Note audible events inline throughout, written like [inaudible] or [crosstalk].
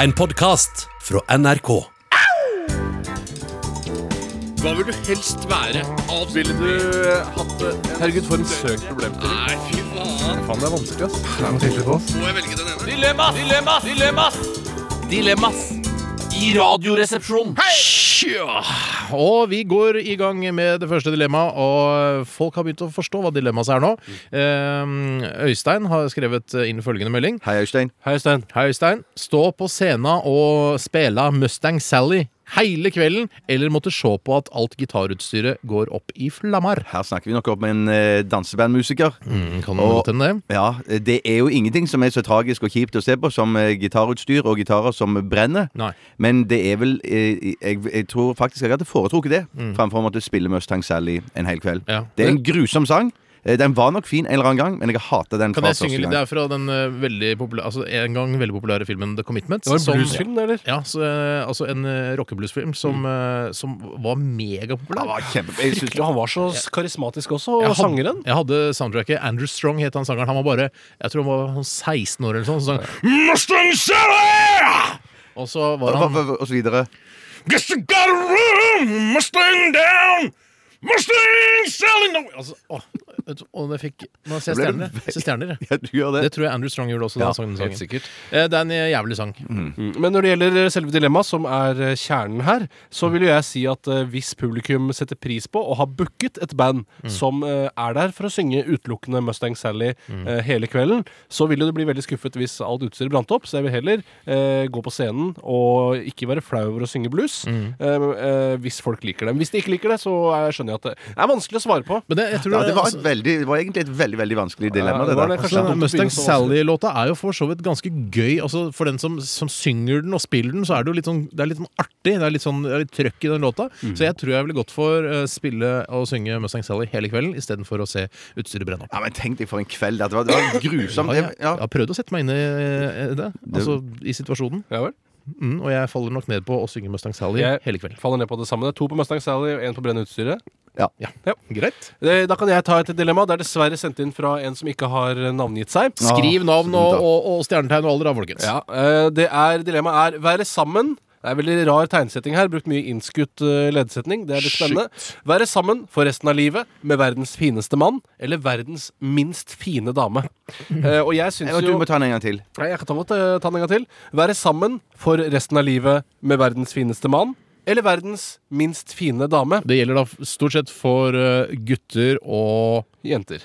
En podkast fra NRK. Hva vil du helst være? Avspille Ville du hatt det? Herregud, for en søk problemstilling. Nei, fy faen. Faen, det er vanskelig, ass. Må jeg velge den ene? Dilemmas! Dilemmas! Dilemmas! Dilemmas i Radioresepsjonen. Ja. Og vi går i gang med det første dilemmaet, og folk har begynt å forstå hva dilemmaet er nå. Eh, Øystein har skrevet inn eh, følgende melding. Hei, Øystein. Hei, Øystein. Hei, Øystein. Stå på scenen og spille Mustang Sally hele kvelden, eller måtte se på at alt gitarutstyret går opp i flammer. Her snakker vi nok om en eh, dansebandmusiker. Mm, Kan Og- man godt hende det? Ja, Det er jo ingenting som er så tragisk og kjipt å se på som eh, gitarutstyr og gitarer som brenner. Nei. Men det er vel eh, jeg, jeg tror faktisk jeg hadde foretrukket det framfor å måtte spille Mustang Sally en hel kveld. Mm. Ja. Det er en grusom sang. Eh, Den var nok fin en eller annen gang, men jeg hater den Kan fra jeg synge første litt? Det gang. er fra den eh, veldig populære, altså en gang veldig populære filmen The Commitments. Det var en som- bluesfilm, det, eller? Ja, så, eh, altså en eh, rockebluesfilm som, eh, som var megapopulær. Den var kjempe... Jeg synes, Ja, han var så s- karismatisk også, og Jeg hadde- sangeren. Jeg hadde soundtracket. Andrew Strong het han sangeren. Han var bare jeg tror han var sånn 16 år eller sånn. Så sang han, Mustang Sally! Og så var og, han og, og så videre. Guess you got a room, Mustang down! Mustang Sally no altså, å, vet du, Og det fikk Man ser ble stjerner. det Se stjerner. Ja, du gjør det. Det tror jeg Andrew Strong gjorde også. da han sang den sangen. sikkert. Eh, Det er en jævlig sang. Men når det gjelder selve dilemmaet, som er eh, kjernen her, så vil jo jeg si at eh, hvis publikum setter pris på og har booket et band som eh, er der for å synge utelukkende Mustang Sally eh, hele kvelden, så vil jo det bli veldig skuffet hvis alt utstyret brant opp. Så jeg vil heller eh, gå på scenen og ikke være flau over å synge blues eh, eh, hvis folk liker dem. Hvis de ikke liker det, så eh, skjønner jeg at det er vanskelig å svare på. Men det, jeg tror Ja, det var, altså- et veldig, det var egentlig et veldig veldig vanskelig Ja, dilemma. det det var der. det. Altså, Kanskje den dumt å Mustang begynne så vanskelig. Sally-låta er jo for så vidt ganske gøy. Altså, for den som, som synger den og spiller den, så er det jo litt sånn, det er litt sånn artig. Det er litt, sånn, det er litt trøkk i den låta. Mm. Så jeg tror jeg ville gått for eh, spille og synge Mustang Sally hele kvelden istedenfor å se utstyret brenne opp. Ja, men Tenk deg for en kveld. Det var, det var grusomt. Ja, jeg, Det- Ja. jeg har prøvd å sette meg inn i eh, det, altså i situasjonen. Ja vel. Mm, og jeg faller nok ned på å synge Mustang Sally Jeg- hele kvelden. Faller ned på det samme. Det er To på Mustang Sally og én på brennende utstyret. Greit. Eh, Da kan jeg ta et dilemma. Det er dessverre sendt inn fra en som ikke har eh, navngitt seg. Skriv navn og, og, og stjernetegn og alder, da, folkens. Ja, eh, det er, Dilemmaet er være sammen. Det er veldig rar tegnsetting her. Brukt mye innskutt eh, leddsetning. Det er litt spennende. Være sammen for resten av livet med verdens fineste mann eller verdens minst fine [laughs] dame. Eh, og jeg syns Ja, Du jo må ta den en gang til. Nei, jeg kan ta, godt, eh, ta den en gang til. Være sammen for resten av livet med verdens fineste mann eller verdens minst fine dame. Det gjelder da stort sett for eh, gutter og Jenter.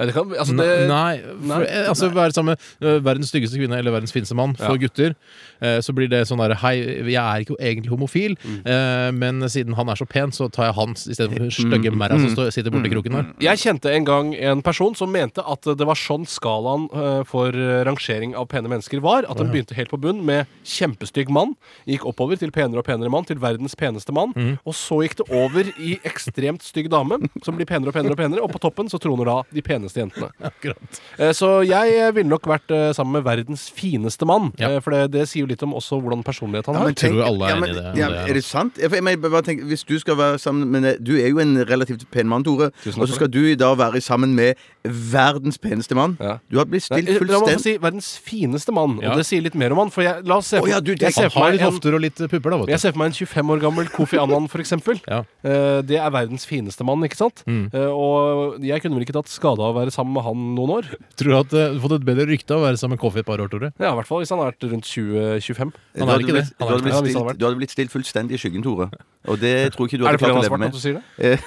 Ja, det kan Altså, det Ne- Nei, for, Nei. eh, altså være sammen med ø, verdens styggeste kvinne eller verdens fineste mann for Ja. gutter. eh, Så blir det sånn derre Hei, jeg er ikke egentlig homofil, Mm. eh, men siden han er så pen, så tar jeg hans istedenfor hun stygge merra Mm. som står, sitter borti kroken [laughs] der. Jeg kjente en gang en person som mente at det var sånn skalaen eh, for eh, rangering av pene mennesker var. At den begynte helt på bunn med kjempestygg mann, gikk oppover til penere og penere mann, til verdens peneste mann. Mm. Og så gikk det over i ekstremt stygg dame, som blir penere og penere og penere. Og på toppen så troner da de peneste jentene. Akkurat. Eh, Så jeg eh, ville nok vært eh, sammen med verdens fineste mann. Ja. eh, For det, det sier jo litt om også hvordan personlighet han Ja, har. men tenk- tror alle er ja, men- enig i det, om Ja, det er altså- er det sant? Ja, for Jeg, men, jeg bare tenker, hvis du skal være sammen med eh, Du er jo en relativt pen mann, Tore. Tusen takk Og så for skal du da være sammen med verdens peneste mann. Ja. Du har blitt Nei, eh, eh, stilt la meg få fullstendig si verdens fineste mann, Ja. og det sier litt mer om han. For jeg, la oss se Å, ja, du, det- jeg ser Han for har meg litt sånn en- hofter og litt eh, pupper, da, Jeg vet du. ser for meg en 25 år gammel Kofi Annan, for eksempel. Ja. Eh, det er verdens fineste mann, ikke sant? Eh, og jeg kunne vel ikke tatt skade av å være sammen med han noen år. Tror du at eh, du har fått et bedre rykte av å være sammen med Coffee et par år, Tore? Ja, I hvert fall hvis han har vært rundt 20-25. Du Han er hadde ikke det. Han blitt- du er hadde ikke det. blitt Ja, hvis han stilt- hadde vært. Du hadde blitt stilt fullstendig i skyggen, Tore. Og det tror jeg ikke du Er hadde det fordi han er klart å leve svart at med. du sier det? Eh,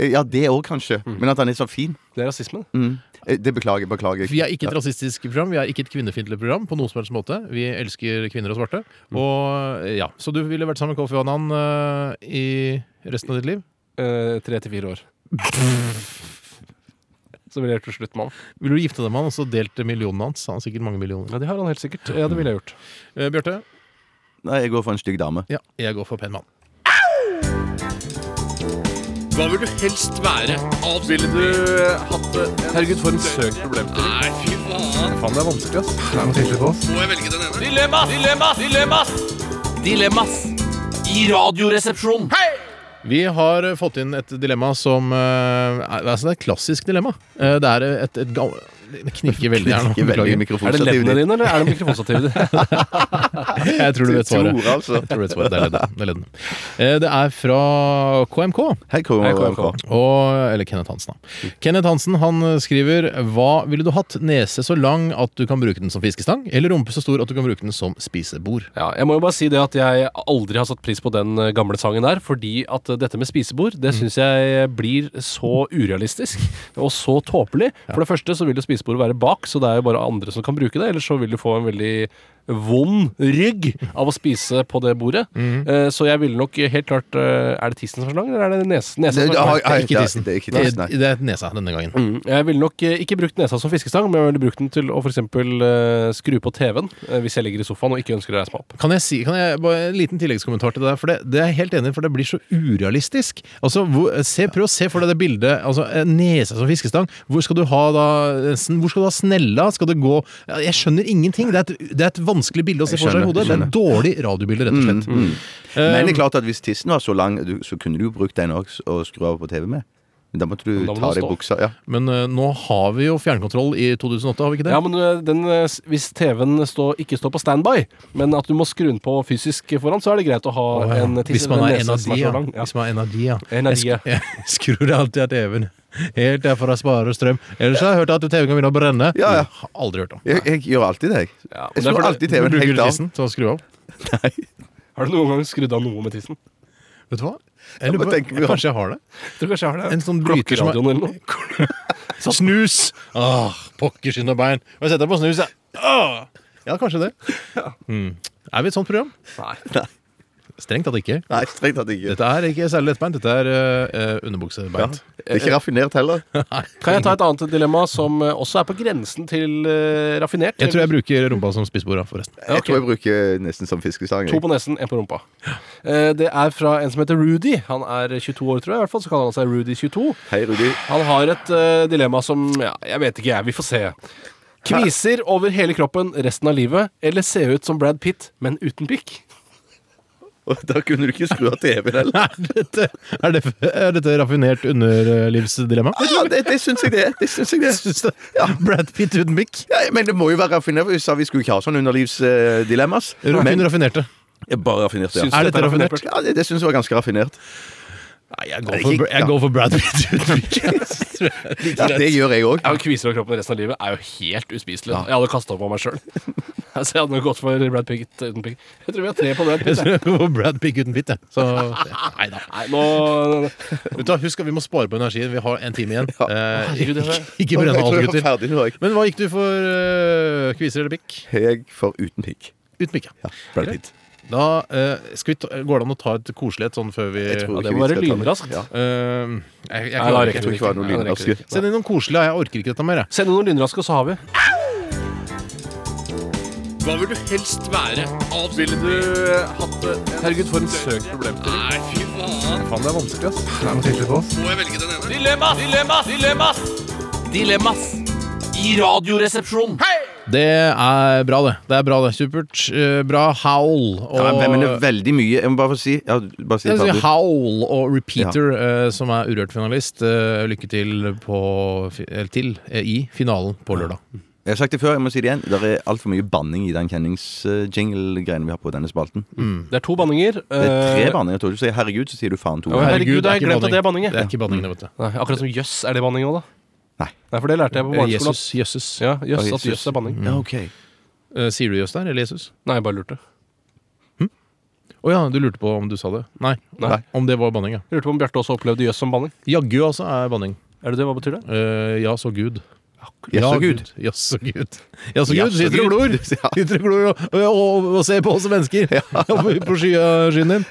Ja, det òg, kanskje. Mm. Men at han er så fin. Det er rasismen. Mm. Eh, Det beklager, beklager. Vi er ikke et rasistisk program, vi er ikke et kvinnefiendtlig program. på noen som helst måte. Vi elsker kvinner og svarte. Mm. Og eh, ja, Så du ville vært sammen med Kofi Annan eh, i resten av ditt liv? Eh, Tre til fire [laughs] år. Så ville jeg gjort det slutt med han. Vil du gifte deg med han og så delt millionene hans? Han har sikkert mange millioner. Ja, det har han helt sikkert. Ja, det ville jeg gjort. Eh, Bjarte? Nei, jeg går for en stygg dame. Ja, jeg går for pen mann. Hva vil du helst være? Avspille Ville du eh, hatt det? Herregud, for en søk problemstilling. Nei, fy faen. Faen, det er vanskelig, ass. Må jeg velge den ene? Dilemmas! Dilemmas! Dilemmas! Dilemmas i Radioresepsjonen. Vi har eh, fått inn et dilemma som eh, er, altså Det er et klassisk dilemma. Eh, det er et, et, gam- Det knirker veldig [laughs] her nå. Ikke veldig Beklager. Er det leddene dine, eller er det mikrofonstativet ditt? Jeg tror du vet Tor, svaret. altså. Jeg tror du vet svaret. Det er leddene. Det er, leddene. Eh, det er fra KMK. Hei, KMK. Og, eller Kenneth Hansen, da. Kenneth Hansen han skriver Hva ville du hatt? Nese så lang at du kan bruke den som fiskestang, eller rumpe så stor at du kan bruke den som spisebord? Ja, jeg må jo bare si det at jeg aldri har satt pris på den eh, gamle sangen der, fordi at eh, dette med spisebord, Mm. det syns jeg blir så urealistisk og så tåpelig. For det første så vil jo spisebord være bak, så det er jo bare andre som kan bruke det. Ellers så vil du få en veldig vond rygg av å spise på det bordet. Mm. Eh, Så jeg ville nok helt klart eh, Er det tissen som er så lang, eller er det nes- nesa? Det- som er så lang? har- har- Ikke ja, tissen. Det er ikke tissen, nei. Det det er nesa denne gangen. Mm, Jeg ville nok eh, ikke brukt nesa som fiskestang, men jeg ville brukt den til å f.eks. skru på TV-en eh, hvis jeg ligger i sofaen og ikke ønsker å reise meg opp. Kan jeg si, kan jeg, bare En liten tilleggskommentar til det der. for Det, det er jeg helt enig i, for det blir så urealistisk. Altså, hvor, se, Prøv å se for deg det bildet. altså en Nese som fiskestang. Hvor skal du ha da sn- Hvor skal du ha snella? Skal det gå Ja, Jeg skjønner ingenting. Det er et, det er et vanskelig bilde å se Jeg for seg i skjønner, hodet. Det er et dårlig radiobilde, rett og slett. Mm. Men det er klart at hvis tissen var så lang, du- så kunne du jo brukt den også og skru av på TV med. Men da måtte du da må ta du av deg stå. buksa. Ja. Men eh, nå har vi jo fjernkontroll i 2008, har vi ikke det? Ja, men ø, den, ø, s- hvis TV-en står- ikke står på standby, men at du må skru den på fysisk foran, så er det greit å ha Å, ja. en Hvis tisse man en er nese en av de, som er ja. så lang. Ja. Hvis man er en av de, ja. En av Jeg de, ja. sk- Jeg [laughs] skrur alltid av TV-en. Helt derfor jeg sparer strøm. Ellers har jeg hørt at TV-en kan begynne å brenne. Ja, ja. Har aldri hørt om. Jeg, jeg gjør alltid det. jeg. Ja, men Jeg det er skrur fordi- alltid TV-en helt bruker av. tissen til å skru av. Har du noen gang skrudd av noe med tissen? Vet du hva? Jeg bare på- tenker vi har- kanskje jeg har det. Jeg tror kanskje jeg har det. En sånn bryter som er- Sånn Klokkeradioen eller noe. Snus! Åh, pokker skinn og bein. Må jeg sette meg på snus, jeg. Åh! Ja, kanskje det. Mm. Er vi et sånt program? Nei. Strengt tatt ikke. Nei, strengt tatt ikke. Dette er ikke særlig lettbeint. Dette er eh, eh, Ja. underbuksebeint. Det er ikke raffinert heller. Kan jeg ta et annet dilemma som ø, også er på grensen til ø, raffinert? Jeg tror jeg bruker rumpa som spissbord, forresten. [laughs] Jeg tror jeg bruker nesten som fiskestang. To jeg. på nesen, én på rumpa. Eh, Det er fra en som heter Rudy. Han er 22 år, tror jeg. i hvert fall, Så kaller han seg Rudy22. Hei, Rudi. Han har et eh, dilemma som ja, Jeg vet ikke, jeg. Vi får se. Kviser over hele kroppen resten av livet, eller se ut som Brad Pitt, men uten pikk? Og da kunne du ikke skru av TV-en heller. Er dette, er det, er dette raffinert underlivsdilemma? Ja, det, det syns jeg det. er. det, syns jeg det. er. Syns du? Brad Pitt uten mikk. Ja, men det må jo være raffinert. for Vi sa vi skulle ikke ha sånn underlivsdilemmas. Kun Men raffinerte. bare raffinert, ja. Syns du Er dette dette raffinert? Ja, det, det syns jeg var ganske raffinert. Nei, jeg går Nei, for, ikke- jeg går for Brad Pitt uten mikk. Ja, det gjør jeg òg. Ja, Kviser over kroppen resten av livet er jo helt uspiselig. Jeg hadde kasta opp på meg sjøl. [laughs] altså, jeg hadde nok gått for Brad Pitt uten pikk. Jeg tror vi har tre på Brad Jeg [laughs] Pitt. tror jeg jeg. går for Brad Pitt uten mitt, jeg. Så nei da. Nei, nå Vet du hva, Husk at vi må spare på energien. Vi har en [laughs] time igjen. Eh, Herregud, det ikke, er- ikke brenne alt, jeg tror jeg var gutter. ferdig nå, jeg. Men hva gikk du for? eh, kviser eller pikk? Jeg for uten pikk. Uten pikk, ja. Ja, Brad Pitt. Da eh, skal vi ta, Går det an å ta et koselig et sånn før vi Jeg tror Ja, det ikke må vi være skal ta det. lynraskt. Ja. Eh, jeg, jeg Nei, da klarer rekker ikke. Jeg tror ikke det var noe Nei, det rekker vi lynraske. ikke. Send inn noen koselige. Jeg orker ikke dette mer. jeg. Send noen lynraske, så har vi. Hva vil du helst være? Avs- Ville du hatt Herregud, for en søk problemstilling. Nei, fy faen. Faen, det er vanskelig, ass. Må jeg velge den ene? Dilemmas! Dilemmas! Dilemmas! Dilemmas i Radioresepsjonen. Det er bra, det. Det er bra, det. Supert. Eh, bra howl. Og, Ja, men, men det er veldig mye Jeg må bare få si ja, bare si Jeg det, vil si Tabu. Howl og Repeater, eh, som er Urørt-finalist. eh, lykke til, på, fi- eller til eh, i finalen på lørdag. Jeg har sagt det før, jeg må si det igjen. Det er altfor mye banning i den kjenningsjingle-greiene vi har på denne spalten. Det er to banninger. Det er tre eh, banninger. Jeg tror du sier 'herregud', så sier du 'faen' to Ja, ganger. men- Herregud, det er jeg ikke glemte at det er banning, jeg. Det er ikke banning, det, vet du. Nei, akkurat som jøss er det banning òg, da. Nei. Nei, for det lærte jeg på Eh, barneskolen. Jesus. Jøsses. Ja, jøss, Ja, at jøss er banning. Ja, ok. Eh, sier du jøss der, eller Jesus? Nei, jeg bare lurte. Å ja, du lurte på om du sa det. Nei. Nei. Om det var banning, ja. Jeg lurte på om Bjarte også opplevde jøss som banning. Jaggu, altså, er banning. Er det det? Hva betyr det? Eh, ja, så Gud. Jaså, Gud. Jaså, Gud. Jaså, Gud. Jaså, Sitter og [laughs] Gud. glor. Sitter og glor og, og, og, og ser på oss mennesker [laughs] oppe på skya- skyen din.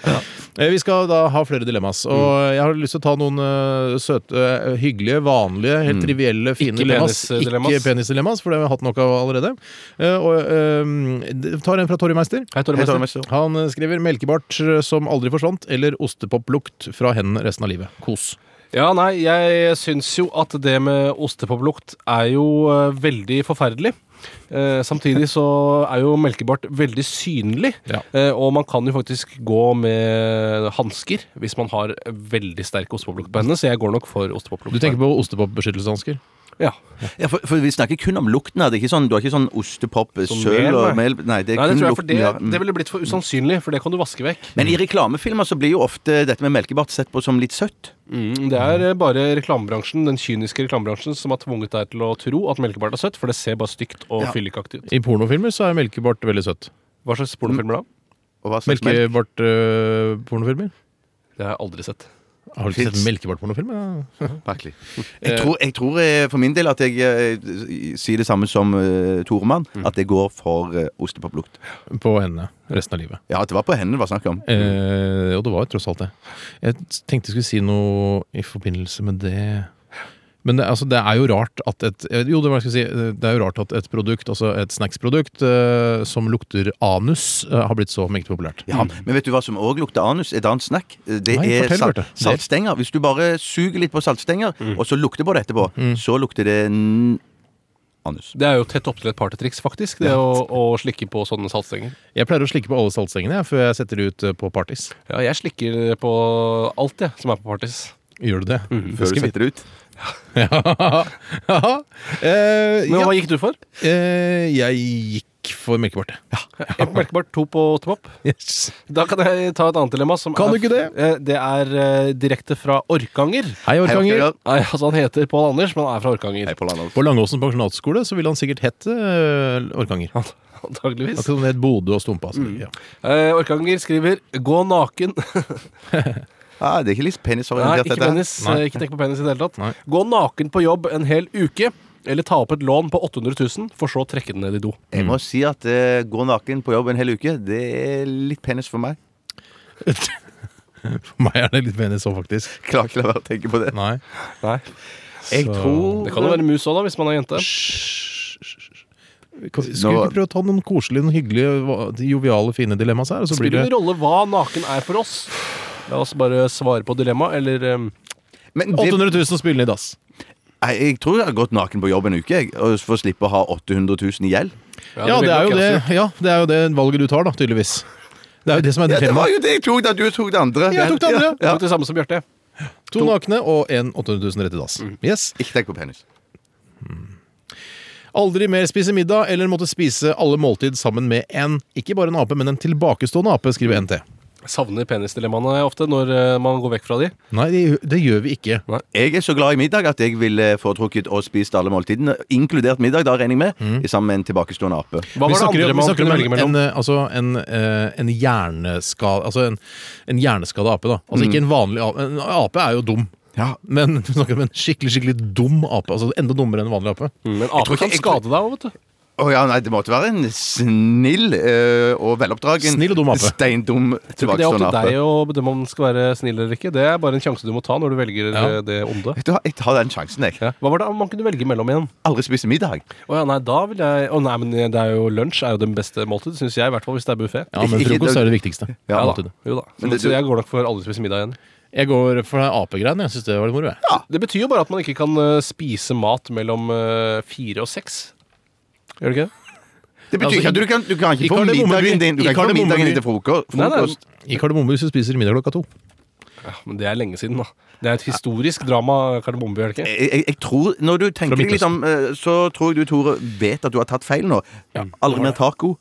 Eh, Vi skal da ha flere dilemmas. Og Mm. jeg har lyst til å ta noen eh, søte, eh, hyggelige, vanlige, helt trivielle, fine Mm. Ikke dilemmas. penisdilemmas. Ikke penisdilemmas, for det har vi hatt nok av allerede. Eh, og eh, det- tar en fra Torje Meister. Hei, Tore Jeg tar Meister. det meste. Han eh, skriver 'melkebart som aldri forsvant', eller 'ostepoplukt fra hendene resten av livet'. Kos. Ja, nei, jeg syns jo at det med ostepoplukt er jo eh, veldig forferdelig. Eh, samtidig så er jo melkebart veldig synlig, Ja. eh, og man kan jo faktisk gå med hansker hvis man har veldig sterk ostepoplukt på hendene, så jeg går nok for Du ostepoplukt. tenker på ostepopbeskyttelseshansker? Ja. Ja, for, for vi snakker kun om lukten av det. Ikke sånn, du har ikke sånn ostepop, mel, søl og mel Nei, det Nei, det er kun tror jeg, for lukten. det, vi har. Mm. det ville blitt for usannsynlig, for det kan du vaske vekk. Men i reklamefilmer så blir jo ofte dette med melkebart sett på som litt søtt. Det er eh, bare reklamebransjen, den kyniske reklamebransjen som har tvunget deg til å tro at melkebart er søtt, for det ser bare stygt og Ja. fyllikaktig ut. I pornofilmer så er melkebart veldig søtt. Hva slags pornofilmer da? Og hva slags melk? Melkebart-pornofilmer? Det har jeg aldri sett. eh, Har du ikke sett melkebart-pornofilmer? Ja. Merkelig. Jeg tror, jeg tror eh, for min del at jeg eh, sier det samme som eh, Toremann. At det går for eh, ostepoplukt. På hendene resten av livet. Ja, at det var på hendene det var snakk om. Eh, og det var jo tross alt det. Jeg tenkte jeg skulle si noe i forbindelse med det Men det, altså, det er jo rart at et eh, Jo, det var det jeg skulle si. Det er jo rart at et produkt, altså et snacksprodukt eh, som lukter anus, eh, har blitt så meget populært. Ja, Men vet du hva som òg lukter anus? Et annet snack. Eh, Det Nei, er fortell, salt, Bjarte. Det- saltstenger. Hvis du bare suger litt på saltstenger, og så lukter på det etterpå, så lukter det n anus. Det er jo tett opp til et partytriks, faktisk, det å, å slikke på sånne saltstenger. Jeg pleier å slikke på alle saltstengene jeg, før jeg setter de ut eh, på parties. Ja, jeg slikker på alt, jeg, som er på parties. Gjør du det? [laughs] Det Mm. Før skal du vi- setter det ut. Ja. [laughs] Eh, Men ja. hva gikk du [laughs] for? Eh, jeg gikk for melkebart. Ett på melkebart, to på tommop. Yes. Da kan jeg ta et annet dilemma. Som Kan du er, ikke det? Eh, Det er eh, direkte fra Orkanger. Hei, Orkanger. Orkanger. Nei, altså Han heter Pål Anders, men han er fra Orkanger. Hei, Pål Arnold. På altså. Langåsen pensjonatskole så ville han sikkert hett eh, Orkanger. Antageligvis. Akkurat som det het Bodø og Stumpa. Altså. Ja. Eh, Orkanger skriver 'gå naken'. Ah, det er ikke litt Nei, penisorientert, ikke dette. her. penis. Nei. Eh, Ikke tenk på penis i det hele tatt. Nei. Gå naken på jobb en hel uke, eller ta opp et lån på 800 000, for så å trekke den ned i do. Jeg må si at eh, gå naken på jobb en hel uke, det er litt penis for meg. For meg er det litt penis òg, faktisk. Klarer ikke å la være å tenke på det. Nei. Nei. Jeg tror Det kan jo være mus òg, da, hvis man er jente. Kan- Skal vi ikke prøve å ta noen koselige, noen hyggelige, hva- de joviale, fine dilemmaer her? og Så blir Spiller det ingen rolle hva naken er for oss. La oss bare svare på dilemmaet, eller eh, Men det, 800 000 spillende i dass. Nei, jeg tror jeg har gått naken på jobb en uke, jeg, og for å slippe å ha 800 000 i gjeld. Ja, det er jo vil nok jeg også det, ja, det er jo det valget du tar, da, tydeligvis. Det er jo det som er Ja, det var dilemmaet. jo det jeg tok, da du tok det andre. Jeg tok det andre, ja. gjøre. Tok det samme som Bjarte. To nakne og en 800 000 rett i dass. Yes. Ikke tenk på penis. Aldri mer spise middag eller måtte spise alle måltid sammen med en, ikke bare en ape, men en tilbakestående ape, skriver NT. Savner penisdilemmaene ofte når eh, man går vekk fra de. Nei, det, det gjør vi ikke. Jeg er så glad i middag at jeg ville foretrukket å spise alle måltidene, inkludert middag, da regner jeg med, sammen med en tilbakestående ape. Hva vi var det snakker, andre vi man snakker kunne om velge en, mellom? en, eh, altså en, eh, en hjerneskade Altså en, en hjerneskada ape, da. Altså ikke en vanlig ape. En ape er jo dum. Ja. Men [laughs] vi snakker om en skikkelig skikkelig dum ape. Altså Enda dummere enn en vanlig ape. Men ape ikke- kan jeg- skade deg òg, vet du. Å ja, nei, det måtte være en snill eh, og veloppdragen Snill og dum ape. Steindum Jeg tror ikke det er opp tilbakestående til ape. deg å bedømme om den skal være snill eller ikke. Det er bare en sjanse du må ta når du velger Ja. eh, det onde. Vet du hva, Jeg tar den sjansen, jeg. Ja. Hva var det man kunne velge mellom igjen? Aldri spise middag. Å ja, nei, da vil jeg Å nei, men det er jo lunsj er jo den beste måltid, syns jeg, i hvert fall hvis det er buffé. Ja, men Ikke- ikke- frokost er det viktigste. Ja, Alltid. da. Jo da. Men det- så jeg går nok for aldri spise middag igjen. Jeg går for den apegreien. Jeg syns det var litt moro. jeg. Det betyr jo bare at man ikke kan eh, spise mat mellom eh, fire og seks. Gjør det ikke det? Det betyr Altså, ikke at du kan, du kan ikke i få kardemommeby- middagen din Du i kan ikke få middagen kardemommeby- din til froko- Nei, nei. frokost. I Kardemomme hvis du spiser middag klokka to. Ja, men det er lenge siden, da. Det er et historisk drama, Kardemomme, gjør det ikke? Jeg, jeg, jeg tror, Når du tenker deg litt om, eh, så tror jeg du, Tore, vet at du har tatt feil nå. Aldri mer taco.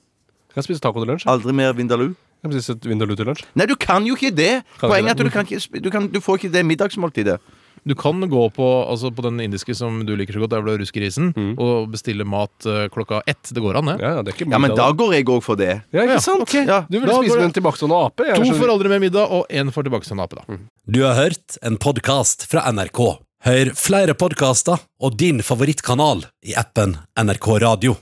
Kan jeg spise taco til lunsj? jeg? Aldri mer vindaloo. Kan jeg spise et vindaloo til lunsj? Nei, du kan jo ikke det! Kan Poenget er at ikke du, kan ikke, sp- du, kan, du får ikke det middagsmåltidet. Du kan gå på, altså på den indiske som du liker så godt, der hvor det er ruskerisen, og bestille mat eh, klokka ett. Det går an, det. Ja, ja, det er ikke Ja, men middag, da går jeg òg for det. Ja, ikke sant? Ja, Du ville da spise går det- med en tilbakestående ape. jeg To skjønner. for aldri mer middag, og én for tilbakestående ape, da. Du har hørt en podcast fra NRK. Hør flere podcaster og din favorittkanal i appen NRK Radio.